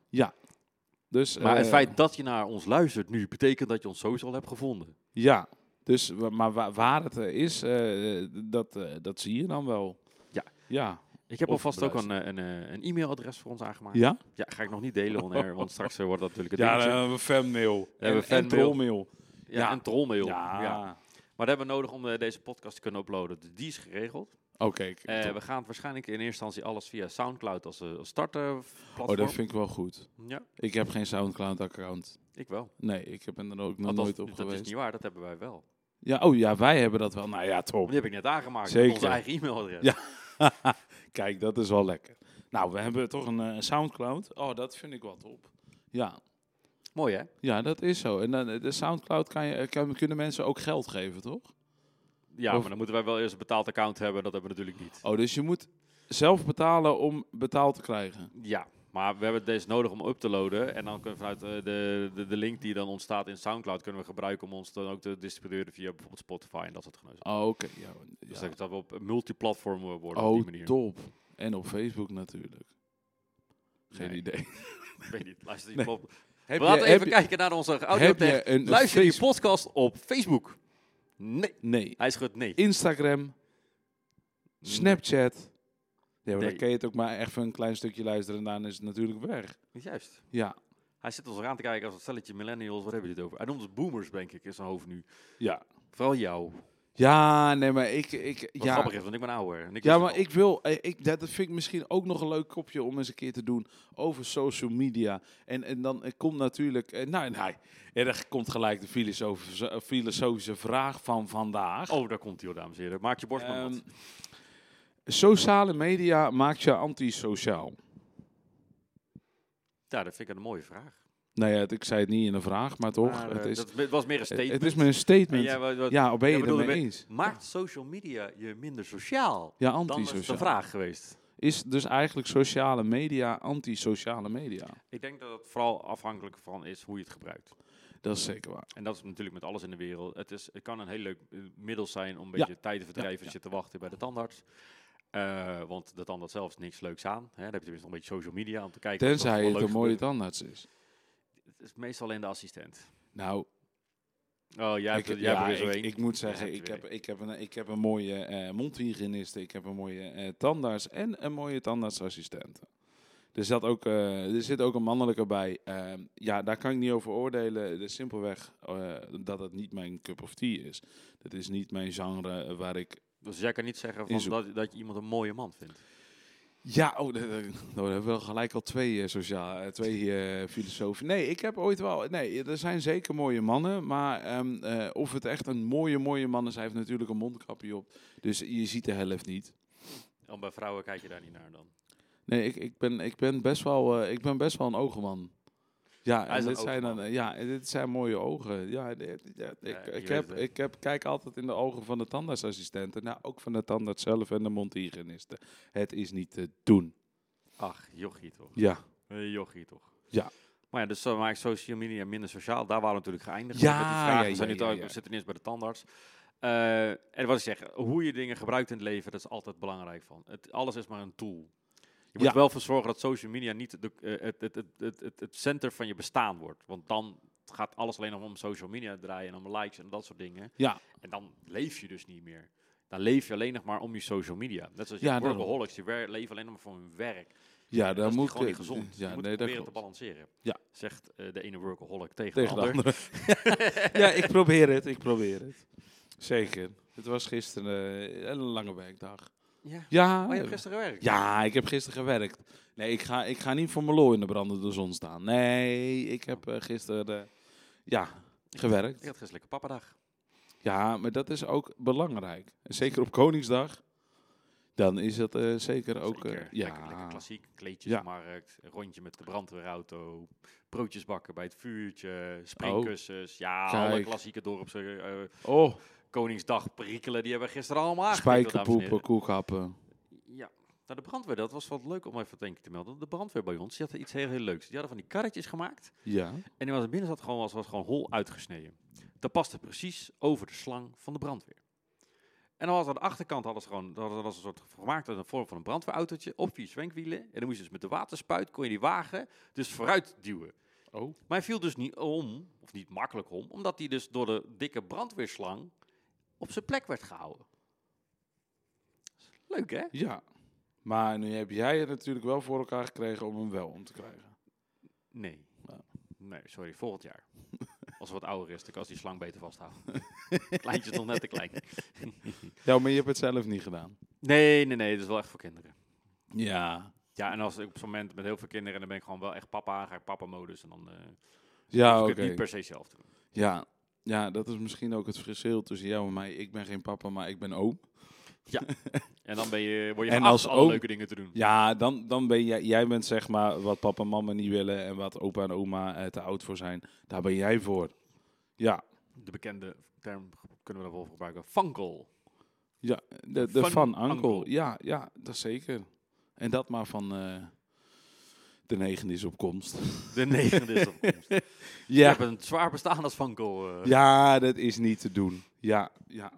Speaker 3: Dus,
Speaker 2: Maar het
Speaker 3: eh,
Speaker 2: feit dat je naar ons luistert nu, betekent dat je ons sowieso al hebt gevonden.
Speaker 3: Ja, dus, wa- maar wa- waar het eh, is, eh, dat, eh, dat zie je dan wel.
Speaker 2: Ja.
Speaker 3: Ja.
Speaker 2: Ik heb
Speaker 3: Of
Speaker 2: alvast ook een, eh, een, eh, een e-mailadres voor ons aangemaakt. Ja.
Speaker 3: Ja?
Speaker 2: ga ik nog niet delen, on air, want straks eh, wordt dat natuurlijk het
Speaker 3: Ja,
Speaker 2: dingetje.
Speaker 3: een fanmail.
Speaker 2: hebben we
Speaker 3: En, en
Speaker 2: fanmail.
Speaker 3: trollmail.
Speaker 2: ja,
Speaker 3: ja.
Speaker 2: een trollmail.
Speaker 3: Ja.
Speaker 2: Maar dat hebben we nodig om eh, deze podcast te kunnen uploaden. Dus die is geregeld.
Speaker 3: Oké. kijk,
Speaker 2: Eh,
Speaker 3: top.
Speaker 2: we gaan waarschijnlijk in eerste instantie alles via Soundcloud als, eh, als starterplatform.
Speaker 3: oh, dat vind ik wel goed.
Speaker 2: Ja,
Speaker 3: Ik heb geen SoundCloud-account.
Speaker 2: ik wel.
Speaker 3: Nee, ik heb er ook nog
Speaker 2: Althans,
Speaker 3: nooit op
Speaker 2: dat
Speaker 3: geweest.
Speaker 2: is niet waar, dat hebben wij wel.
Speaker 3: Ja, oh ja, wij hebben dat wel. Nou ja,
Speaker 2: Maar
Speaker 3: top.
Speaker 2: die heb ik net aangemaakt.
Speaker 3: Zeker.
Speaker 2: Met onze eigen e-mailadres.
Speaker 3: Ja. Kijk, dat is wel lekker. Nou, we hebben toch een eh, Soundcloud. Oh, dat vind ik wat op. Ja,
Speaker 2: Mooi hè?
Speaker 3: ja dat is zo. En dan, eh, de Soundcloud kan je, eh, kan, kunnen mensen ook geld geven, toch?
Speaker 2: Ja,
Speaker 3: Of-
Speaker 2: maar dan moeten wij wel eerst een betaald account hebben. Dat hebben we natuurlijk niet.
Speaker 3: Oh, dus je moet zelf betalen om betaald te krijgen.
Speaker 2: Ja, maar we hebben deze nodig om up te loaden. En dan kunnen we vanuit eh, de, de, de link die dan ontstaat in Soundcloud... kunnen we gebruiken om ons dan ook te distribueren via bijvoorbeeld Spotify en dat soort geneuzel.
Speaker 3: Oh, oké. Ja,
Speaker 2: Dus
Speaker 3: ja.
Speaker 2: dat- dat we op multiplatform eh, worden op die
Speaker 3: Oh,
Speaker 2: manier.
Speaker 3: top. En op Facebook natuurlijk. Geen
Speaker 2: Nee.
Speaker 3: idee.
Speaker 2: Ik weet niet, luister die
Speaker 3: Nee.
Speaker 2: plat-
Speaker 3: Heb
Speaker 2: we laten even
Speaker 3: heb
Speaker 2: kijken naar onze audio
Speaker 3: heb je een
Speaker 2: Luister die
Speaker 3: Facebook-
Speaker 2: podcast op Facebook. Nee.
Speaker 3: Nee.
Speaker 2: Hij schudt nee.
Speaker 3: Instagram, Snapchat. Ja, maar
Speaker 2: Nee.
Speaker 3: dan kan je het ook maar even een klein stukje luisteren en dan is het natuurlijk weg.
Speaker 2: Nee, Juist.
Speaker 3: Ja,
Speaker 2: Hij zit ons aan te kijken als een stelletje millennials. Waar hebben jullie het over? Hij noemt ons boomers, denk ik, in zijn hoofd nu.
Speaker 3: ja.
Speaker 2: Vooral jou.
Speaker 3: Ja, nee, maar ik... ik
Speaker 2: Wat
Speaker 3: ja.
Speaker 2: grappig is, want ik ben ouder. En ik
Speaker 3: Ja,
Speaker 2: wist
Speaker 3: maar
Speaker 2: het al.
Speaker 3: ik wil, eh, ik, dat dat vind ik misschien ook nog een leuk kopje om eens een keer te doen over social media. En, en dan eh, komt natuurlijk, eh, nou nee, en er komt gelijk de filosofische, eh, filosofische vraag van vandaag.
Speaker 2: Oh, daar komt hij, hoor, dames en heren. Maak je borst maar nat.
Speaker 3: Ehm, sociale media maakt je antisociaal.
Speaker 2: Ja, dat vind ik een mooie vraag.
Speaker 3: Nou ja, het- ik zei het niet in een vraag, maar toch,
Speaker 2: Maar, eh,
Speaker 3: het, is,
Speaker 2: dat het was meer een
Speaker 3: het,
Speaker 2: statement.
Speaker 3: het is maar een
Speaker 2: En
Speaker 3: statement.
Speaker 2: jij wa- wa-
Speaker 3: ja, ben
Speaker 2: jij
Speaker 3: je het
Speaker 2: bedoelde
Speaker 3: ermee
Speaker 2: met-
Speaker 3: eens?
Speaker 2: Maakt social media je minder sociaal?
Speaker 3: Ja,
Speaker 2: Dan is het de
Speaker 3: antisociaal.
Speaker 2: vraag geweest.
Speaker 3: Is dus eigenlijk sociale media antisociale media?
Speaker 2: Ik denk dat het vooral afhankelijk van is hoe je het gebruikt.
Speaker 3: Dat is zeker waar.
Speaker 2: En dat is natuurlijk met alles in de wereld. Het, is, het kan een heel leuk eh, middel zijn om een
Speaker 3: Ja.
Speaker 2: beetje tijd te verdrijven als je te wachten bij de tandarts. Eh, want de tandarts zelf is niks leuks aan. Hè. Dan heb je tenminste nog een beetje social media om te kijken. of er
Speaker 3: Tenzij
Speaker 2: wat
Speaker 3: het een
Speaker 2: leuks
Speaker 3: mooie
Speaker 2: gebeurt.
Speaker 3: tandarts is.
Speaker 2: Het is meestal alleen de assistent.
Speaker 3: Nou,
Speaker 2: Oh, jij hebt,
Speaker 3: ik,
Speaker 2: er- jij hebt
Speaker 3: ja,
Speaker 2: er weer
Speaker 3: ik,
Speaker 2: zo één.
Speaker 3: ik moet
Speaker 2: Jij
Speaker 3: zeggen,
Speaker 2: hebt
Speaker 3: ik
Speaker 2: er
Speaker 3: heb,
Speaker 2: weer
Speaker 3: ik, heb een, ik heb een mooie eh mondhygiëniste, ik heb een mooie eh tandarts en een mooie tandartsassistent. Er, zat ook, eh, er zit ook een mannelijke bij. Ehm, ja, daar kan ik niet over oordelen. Dus simpelweg eh, dat het niet mijn cup of tea is. Dat is niet mijn genre eh, waar ik...
Speaker 2: Dus jij kan niet zeggen van
Speaker 3: Inzoek.
Speaker 2: dat, dat je iemand een mooie man vindt.
Speaker 3: Ja, oh, dat- dat- nou, we hebben wel gelijk al twee, eh sociaal, eh, twee eh, filosofen. Nee, ik heb ooit wel... Nee, er zijn zeker mooie mannen. Maar ehm, eh, of het echt een mooie, mooie man is... Hij heeft natuurlijk een mondkapje op. Dus je ziet de helft niet.
Speaker 2: En Oh, bij vrouwen kijk je daar niet naar dan.
Speaker 3: Nee, ik, ik, ben, ik, ben best wel, eh, ik ben best wel een ogenman. Ja,
Speaker 2: Hij is
Speaker 3: en
Speaker 2: een
Speaker 3: dit, zijn dan,
Speaker 2: ogenman.
Speaker 3: eh, ja, en dit zijn mooie ogen. Ja, dit- ja, ik,
Speaker 2: Ja, je
Speaker 3: ik,
Speaker 2: weet
Speaker 3: heb,
Speaker 2: het, hè.
Speaker 3: ik heb, kijk altijd in de ogen van de tandartsassistenten. Nou, ook van de tandarts zelf en de mondhygiënisten. Het is niet te doen.
Speaker 2: Ach, jochie toch.
Speaker 3: Ja.
Speaker 2: Eh, jochie toch.
Speaker 3: Ja.
Speaker 2: Maar ja, dus dan maakt social media minder sociaal. Daar waren we natuurlijk geëindigd.
Speaker 3: Ja,
Speaker 2: met die vragen.
Speaker 3: ja,
Speaker 2: we, zijn
Speaker 3: ja,
Speaker 2: nu
Speaker 3: ja,
Speaker 2: ook-
Speaker 3: ja.
Speaker 2: we zitten eerst bij de tandarts. Eh, en wat ik zeg, hoe je dingen gebruikt in het leven, dat is altijd belangrijk van. Het, alles is maar een tool. Je moet
Speaker 3: Ja.
Speaker 2: er wel voor zorgen dat social media niet de, eh, het, het, het, het, het, het center van je bestaan wordt. Want dan gaat alles alleen nog om social media draaien en om likes en dat soort dingen.
Speaker 3: Ja.
Speaker 2: En dan leef je dus niet meer. Dan leef je alleen nog maar om je social media. Net zoals je
Speaker 3: Ja,
Speaker 2: ja,
Speaker 3: daarom.
Speaker 2: workaholics, die wer- leven alleen nog maar voor hun werk.
Speaker 3: Ja,
Speaker 2: dat
Speaker 3: dan
Speaker 2: is
Speaker 3: moet
Speaker 2: gewoon niet
Speaker 3: eh,
Speaker 2: gezond.
Speaker 3: Ja,
Speaker 2: je moet
Speaker 3: nee, dat
Speaker 2: proberen te
Speaker 3: klopt.
Speaker 2: balanceren.
Speaker 3: Ja.
Speaker 2: Zegt eh, de ene workaholic tegen,
Speaker 3: Tegen
Speaker 2: de
Speaker 3: de
Speaker 2: ander.
Speaker 3: andere. ja, ik probeer het. Ik probeer het. Zeker. Het was gisteren eh, een lange werkdag.
Speaker 2: Ja.
Speaker 3: Ja.
Speaker 2: Maar je hebt
Speaker 3: eh,
Speaker 2: gisteren gewerkt.
Speaker 3: Ja, ik heb gisteren gewerkt. Nee, ik ga, ik ga niet voor mijn lol in de brandende zon staan. Nee, ik heb eh, gisteren eh, ja,
Speaker 2: Ik
Speaker 3: gewerkt.
Speaker 2: had gisteren lekker pappadag.
Speaker 3: Ja, maar dat is ook belangrijk. Zeker op Koningsdag. Dan is dat eh, zeker ook... eh,
Speaker 2: Zeker.
Speaker 3: ja,
Speaker 2: lekker, lekker klassiek. Kleedjesmarkt, een rondje met de brandweerauto, broodjes bakken bij het vuurtje, springkussens. Ja, alle
Speaker 3: Oh. Kijk.
Speaker 2: klassieke dorpse eh,
Speaker 3: Oh,
Speaker 2: Koningsdag perikelen, die hebben we gisteren allemaal aangegeven, dames en
Speaker 3: spijkerpoepen,
Speaker 2: heren.
Speaker 3: koekhappen.
Speaker 2: Ja. Nou, de brandweer, dat was wat leuk om even denk ik te melden. De brandweer bij ons, die had iets heel, heel leuks. Die hadden van die karretjes gemaakt.
Speaker 3: Ja.
Speaker 2: En die was binnen zat gewoon, was, was gewoon hol uitgesneden. Dat paste precies over de slang van de brandweer. En dan was aan de achterkant hadden ze gewoon, dat was een soort gemaakt uit een vorm van een brandweerautootje op vier zwenkwielen. En dan moest je dus met de waterspuit kon je die wagen dus vooruit duwen.
Speaker 3: Oh.
Speaker 2: Maar hij viel dus niet om, of niet makkelijk om, omdat hij dus door de dikke brandweerslang op zijn plek werd gehouden. Leuk hè?
Speaker 3: Ja. Maar nu heb jij het natuurlijk wel voor elkaar gekregen om hem wel om te krijgen.
Speaker 2: Nee.
Speaker 3: Nou.
Speaker 2: Nee, sorry, volgend jaar. Als het wat ouder is, dan kan ze die slang beter vasthouden. Kleintje is nog net te klein.
Speaker 3: Ja, maar je hebt het zelf niet gedaan.
Speaker 2: Nee, nee, nee, dat is wel echt voor kinderen.
Speaker 3: Ja.
Speaker 2: Ja, en als ik op zo'n moment met heel veel kinderen, dan ben ik gewoon wel echt papa, dan ga ik papa-modus. En dan eh
Speaker 3: Ja,
Speaker 2: hoef ik
Speaker 3: Ah, oké.
Speaker 2: het niet per se zelf te doen.
Speaker 3: Ja. ja, dat is misschien ook het verschil tussen jou en mij. Ik ben geen papa, maar ik ben oom.
Speaker 2: En dan ben je, word je
Speaker 3: En
Speaker 2: geacht
Speaker 3: als
Speaker 2: alle
Speaker 3: oom-
Speaker 2: leuke dingen te doen.
Speaker 3: Ja, dan, dan ben jij, jij bent zeg maar wat papa en mama niet willen en wat opa en oma eh, te oud voor zijn. Daar ben jij voor. Ja,
Speaker 2: De bekende term kunnen we dan wel gebruiken. Fankel.
Speaker 3: ja de, de
Speaker 2: Van
Speaker 3: van ankel.
Speaker 2: uncle.
Speaker 3: Ja, ja, dat zeker. En dat maar van eh, de negen is op komst.
Speaker 2: De negende is op komst. Je
Speaker 3: Ja,
Speaker 2: hebt een zwaar bestaan als fankel. eh.
Speaker 3: ja dat is niet te doen. Ja, ja.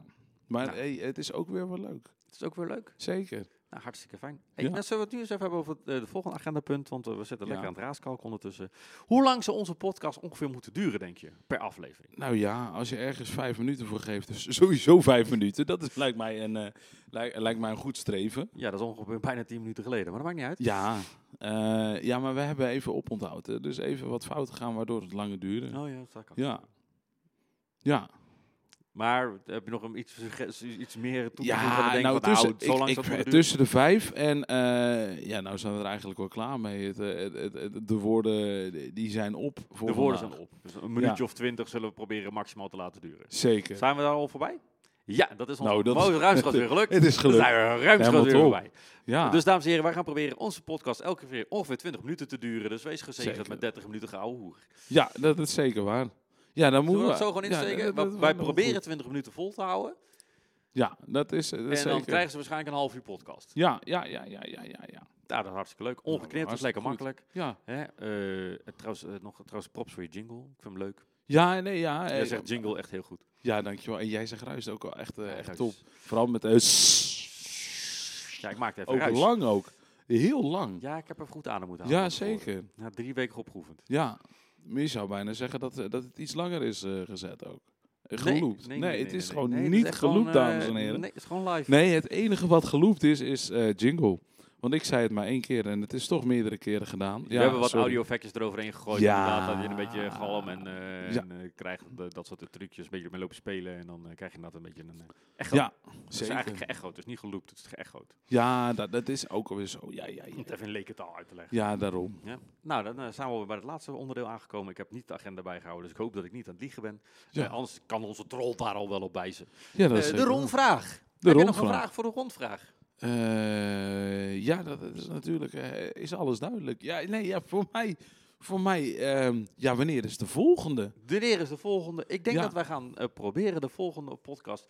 Speaker 3: Maar
Speaker 2: Nou.
Speaker 3: hey, het is ook weer wel leuk.
Speaker 2: Het is ook weer leuk.
Speaker 3: Zeker.
Speaker 2: Nou, hartstikke fijn. Hey,
Speaker 3: Ja.
Speaker 2: nou, zullen we het nu eens even hebben over het eh, de volgende agendapunt? Want eh, we zitten
Speaker 3: Ja.
Speaker 2: lekker aan het raaskalk ondertussen. Hoe lang zou onze podcast ongeveer moeten duren, denk je, per aflevering?
Speaker 3: Nou ja, als je ergens vijf minuten voor geeft, dus sowieso vijf minuten. Dat is, lijkt, mij een, eh, lijk- lijkt mij een goed streven.
Speaker 2: Ja, dat is ongeveer bijna 10 minuten geleden, maar dat maakt niet uit.
Speaker 3: Ja, eh, ja, maar we hebben even oponthoud. hè. Dus even wat fouten gaan waardoor het langer duurde.
Speaker 2: Oh ja, dat kan.
Speaker 3: Ja. Ja,
Speaker 2: Maar heb je nog een iets, sugge- iets meer toe te voegen? dat we
Speaker 3: ja
Speaker 2: denken
Speaker 3: nou
Speaker 2: van,
Speaker 3: tussen,
Speaker 2: zo lang zou
Speaker 3: ik, ik-
Speaker 2: het moeten duren?
Speaker 3: tussen de vijf en eh, ja, nou zijn we er eigenlijk wel klaar mee. Het, eh, het, het- het- de woorden die zijn op. Voor
Speaker 2: De woorden
Speaker 3: vandaag.
Speaker 2: zijn op. Dus een minuutje of twintig zullen we proberen maximaal te laten duren.
Speaker 3: Zeker.
Speaker 2: Zijn we daar al voorbij? Ja, dat is ons
Speaker 3: Nou, dat is-
Speaker 2: mooie ruimschoots weer gelukt.
Speaker 3: Het is
Speaker 2: Dan
Speaker 3: gelukt.
Speaker 2: zijn we ruimschoots
Speaker 3: Helemaal
Speaker 2: weer
Speaker 3: top. Ah.
Speaker 2: voorbij.
Speaker 3: Ja,
Speaker 2: Dus dames en heren, wij gaan proberen onze podcast elke keer ongeveer 20 minuten te duren. Dus wees gezegend
Speaker 3: Zeker.
Speaker 2: met 30 minuten geouwe hoer.
Speaker 3: ja dat is zeker waar. Ja, dan
Speaker 2: Moeten
Speaker 3: moeten
Speaker 2: we dat zo gewoon
Speaker 3: ja,
Speaker 2: insteken?
Speaker 3: dat-
Speaker 2: Wij-
Speaker 3: dat-
Speaker 2: wij
Speaker 3: dat-
Speaker 2: proberen 20 minuten vol te houden.
Speaker 3: Ja, dat is, dat is
Speaker 2: En
Speaker 3: zeker.
Speaker 2: dan krijgen ze waarschijnlijk een half uur podcast.
Speaker 3: Ja, ja, ja, ja, ja, ja, ja.
Speaker 2: Nou, dat is hartstikke leuk. Ongeknipt, dat is
Speaker 3: hartstikke
Speaker 2: lekker
Speaker 3: goed.
Speaker 2: makkelijk.
Speaker 3: Ja,
Speaker 2: Hè? Eh, en trouwens, eh, nog trouwens props voor je jingle. Ik vind hem leuk.
Speaker 3: ja, nee, ja.
Speaker 2: Jij
Speaker 3: eh,
Speaker 2: zegt jingle echt heel goed.
Speaker 3: Ja, dankjewel. En jij zegt ruist ook wel echt, eh,
Speaker 2: Ja,
Speaker 3: echt
Speaker 2: ruis.
Speaker 3: top. Vooral met de
Speaker 2: Ja, ik maak het even
Speaker 3: Ook
Speaker 2: ruis.
Speaker 3: lang ook. Heel lang.
Speaker 2: Ja, ik heb er goed aan moeten
Speaker 3: Ja,
Speaker 2: houden. van tevoren.
Speaker 3: zeker.
Speaker 2: Na drie weken opgeoefend.
Speaker 3: Ja. Maar je zou bijna zeggen dat, eh, dat het iets langer is eh, gezet ook. Eh,
Speaker 2: Nee,
Speaker 3: Geloopt. Nee, het is gewoon
Speaker 2: Nee, dat
Speaker 3: niet
Speaker 2: echt
Speaker 3: geloopt,
Speaker 2: gewoon, eh,
Speaker 3: dames en heren. Nee.
Speaker 2: Nee, het is gewoon live.
Speaker 3: het enige wat geloopt is, is eh, jingle. Want ik zei het maar één keer en het is toch meerdere keren gedaan.
Speaker 2: We hebben wat
Speaker 3: sorry.
Speaker 2: audio-effectjes eroverheen gegooid.
Speaker 3: Ja.
Speaker 2: Inderdaad, dat je een beetje galm en, eh,
Speaker 3: Ja.
Speaker 2: en eh, krijgt eh, dat soort trucjes. Een beetje mee lopen spelen. En dan eh, krijg je inderdaad een beetje een eh, echo.
Speaker 3: Ja,
Speaker 2: het is eigenlijk
Speaker 3: Zeker.
Speaker 2: geëchoed. Het is niet geloopt, het is geëchoed.
Speaker 3: Ja, dat, dat is ook alweer zo. Ja, ja,
Speaker 2: Om het
Speaker 3: ja.
Speaker 2: even in lekentaal uit te leggen.
Speaker 3: ja daarom.
Speaker 2: Ja. Nou, dan eh, zijn we weer bij het laatste onderdeel aangekomen. Ik heb niet de agenda bijgehouden, dus ik hoop dat ik niet aan het liegen ben.
Speaker 3: Ja.
Speaker 2: Eh, anders kan onze troll daar al wel op wijzen.
Speaker 3: Ja, dat
Speaker 2: Eh,
Speaker 3: is
Speaker 2: de
Speaker 3: zeker.
Speaker 2: rondvraag.
Speaker 3: De
Speaker 2: Heb je nog een
Speaker 3: rondvraag.
Speaker 2: vraag voor de rondvraag?
Speaker 3: Eh, ja, dat is natuurlijk eh, is alles duidelijk. Ja, nee, ja, voor mij, voor mij ehm, ja, wanneer is de volgende?
Speaker 2: De leer is de volgende. Ik denk
Speaker 3: Ja.
Speaker 2: dat wij gaan eh, proberen de volgende podcast.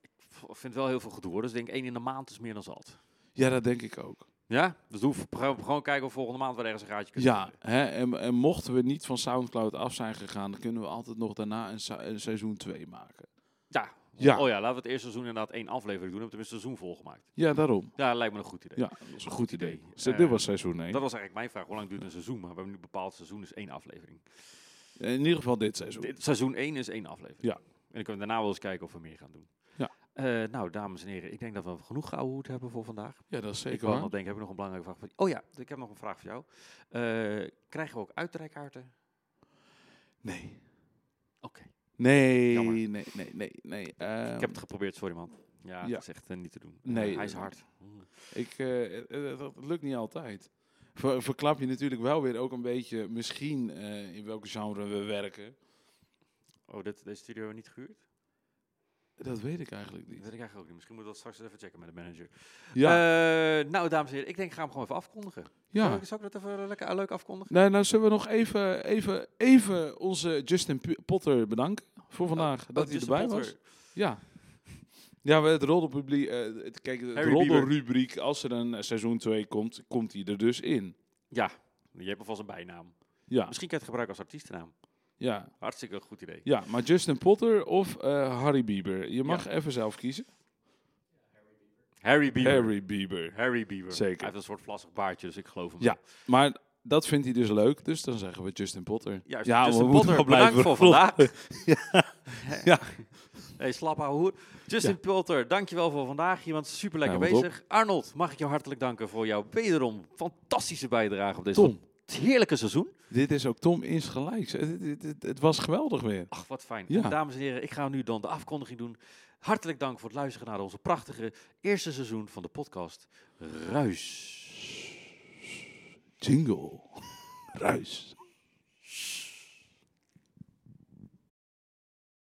Speaker 2: Ik v- vind wel heel veel gedoe hoor. Dus ik denk één in de maand is meer dan zat.
Speaker 3: Ja, dat denk ik ook.
Speaker 2: Ja? Dus doen we gaan we gewoon kijken of volgende maand we ergens een gaatje kunnen
Speaker 3: Ja,
Speaker 2: vinden.
Speaker 3: hè, en, en mochten we niet van SoundCloud af zijn gegaan, dan kunnen we altijd nog daarna een, sa- een seizoen 2 maken.
Speaker 2: Ja.
Speaker 3: Ja.
Speaker 2: Oh ja, laten we het eerste seizoen inderdaad één aflevering doen. Dan hebben we tenminste een seizoen volgemaakt.
Speaker 3: Ja, daarom.
Speaker 2: Ja, lijkt me een goed idee.
Speaker 3: Ja, dat is een goed idee.
Speaker 2: idee.
Speaker 3: Zet-
Speaker 2: Eh,
Speaker 3: dit was seizoen 1.
Speaker 2: Dat was eigenlijk mijn vraag. Hoe lang duurt een seizoen? Maar we hebben nu bepaald seizoen is één aflevering.
Speaker 3: In ieder geval dit seizoen.
Speaker 2: Dit, seizoen 1 is één aflevering.
Speaker 3: Ja.
Speaker 2: En dan kunnen we daarna wel eens kijken of we meer gaan doen.
Speaker 3: Ja.
Speaker 2: Eh, nou, dames en heren, ik denk dat we genoeg gehouden hebben voor vandaag.
Speaker 3: Ja, dat is
Speaker 2: ik
Speaker 3: zeker
Speaker 2: wou
Speaker 3: waar.
Speaker 2: nog denken, heb ik nog een belangrijke vraag voor je? Oh ja, ik heb nog een vraag voor jou. Eh, krijgen we ook uitreikkaarten?
Speaker 3: Nee.
Speaker 2: Oké.
Speaker 3: Nee,
Speaker 2: Jammer.
Speaker 3: nee, nee, nee. nee. Ehm,
Speaker 2: ik heb het geprobeerd, sorry man. Ja,
Speaker 3: ja.
Speaker 2: dat is echt eh, niet te doen.
Speaker 3: Nee,
Speaker 2: Eh, hij is
Speaker 3: eh,
Speaker 2: hard. Hm.
Speaker 3: Ik, eh, eh, eh, dat lukt niet altijd. Ver- verklap je natuurlijk wel weer ook een beetje misschien eh, in welke genre we werken.
Speaker 2: Oh, dit, deze studio niet gehuurd?
Speaker 3: Dat weet ik eigenlijk
Speaker 2: Dat
Speaker 3: niet.
Speaker 2: weet ik eigenlijk ook niet. Misschien moeten we dat straks even checken met de manager.
Speaker 3: Ja,
Speaker 2: Eh, nou, dames en heren, ik denk ik ga hem gewoon even afkondigen. Zal,
Speaker 3: ja.
Speaker 2: ik, zal ik dat even eh, lekker leuk afkondigen?
Speaker 3: Nou, nou zullen we nog even, even, even onze Justin P- Potter bedanken voor vandaag. dat
Speaker 2: Oh,
Speaker 3: hij
Speaker 2: Justin
Speaker 3: erbij
Speaker 2: Potter.
Speaker 3: was. Ja. Ja, we- het roddelpubliek, eh, het- kijk, het
Speaker 2: Harry
Speaker 3: roddelrubriek, als er een eh, seizoen 2 komt, komt hij er dus in.
Speaker 2: Ja, je hebt alvast een bijnaam.
Speaker 3: Ja,
Speaker 2: Misschien kan je het gebruiken als artiestennaam.
Speaker 3: Ja,
Speaker 2: Hartstikke goed idee.
Speaker 3: ja maar Justin Potter of eh, Harry Bieber? Je mag even zelf kiezen.
Speaker 2: Harry Bieber. Harry,
Speaker 3: Harry Bieber.
Speaker 2: Bieber.
Speaker 3: Zeker.
Speaker 2: Hij heeft een soort vlassig baardje, dus ik geloof hem.
Speaker 3: Ja, maar dat vindt hij dus leuk, dus dan zeggen we Justin Potter.
Speaker 2: Juist,
Speaker 3: ja,
Speaker 2: Justin
Speaker 3: we
Speaker 2: Potter,
Speaker 3: moeten wel
Speaker 2: bedankt
Speaker 3: blijven
Speaker 2: voor
Speaker 3: rollen.
Speaker 2: vandaag.
Speaker 3: Ja.
Speaker 2: Hey, slap ouwe hoer. Justin
Speaker 3: Ja.
Speaker 2: Potter, dankjewel voor vandaag. Je bent super lekker
Speaker 3: Ja, wat op.
Speaker 2: bezig. Arnold, mag ik jou hartelijk danken voor jouw wederom fantastische bijdrage op deze
Speaker 3: Tom,
Speaker 2: heerlijke seizoen.
Speaker 3: dit is ook Tom insgelijks. Het, het, het, het was geweldig weer.
Speaker 2: Ach, wat fijn.
Speaker 3: Ja.
Speaker 2: En Dames en heren, ik ga nu dan de afkondiging doen. Hartelijk dank voor het luisteren naar onze prachtige eerste seizoen van de podcast Ruis.
Speaker 3: Jingle. Ruis.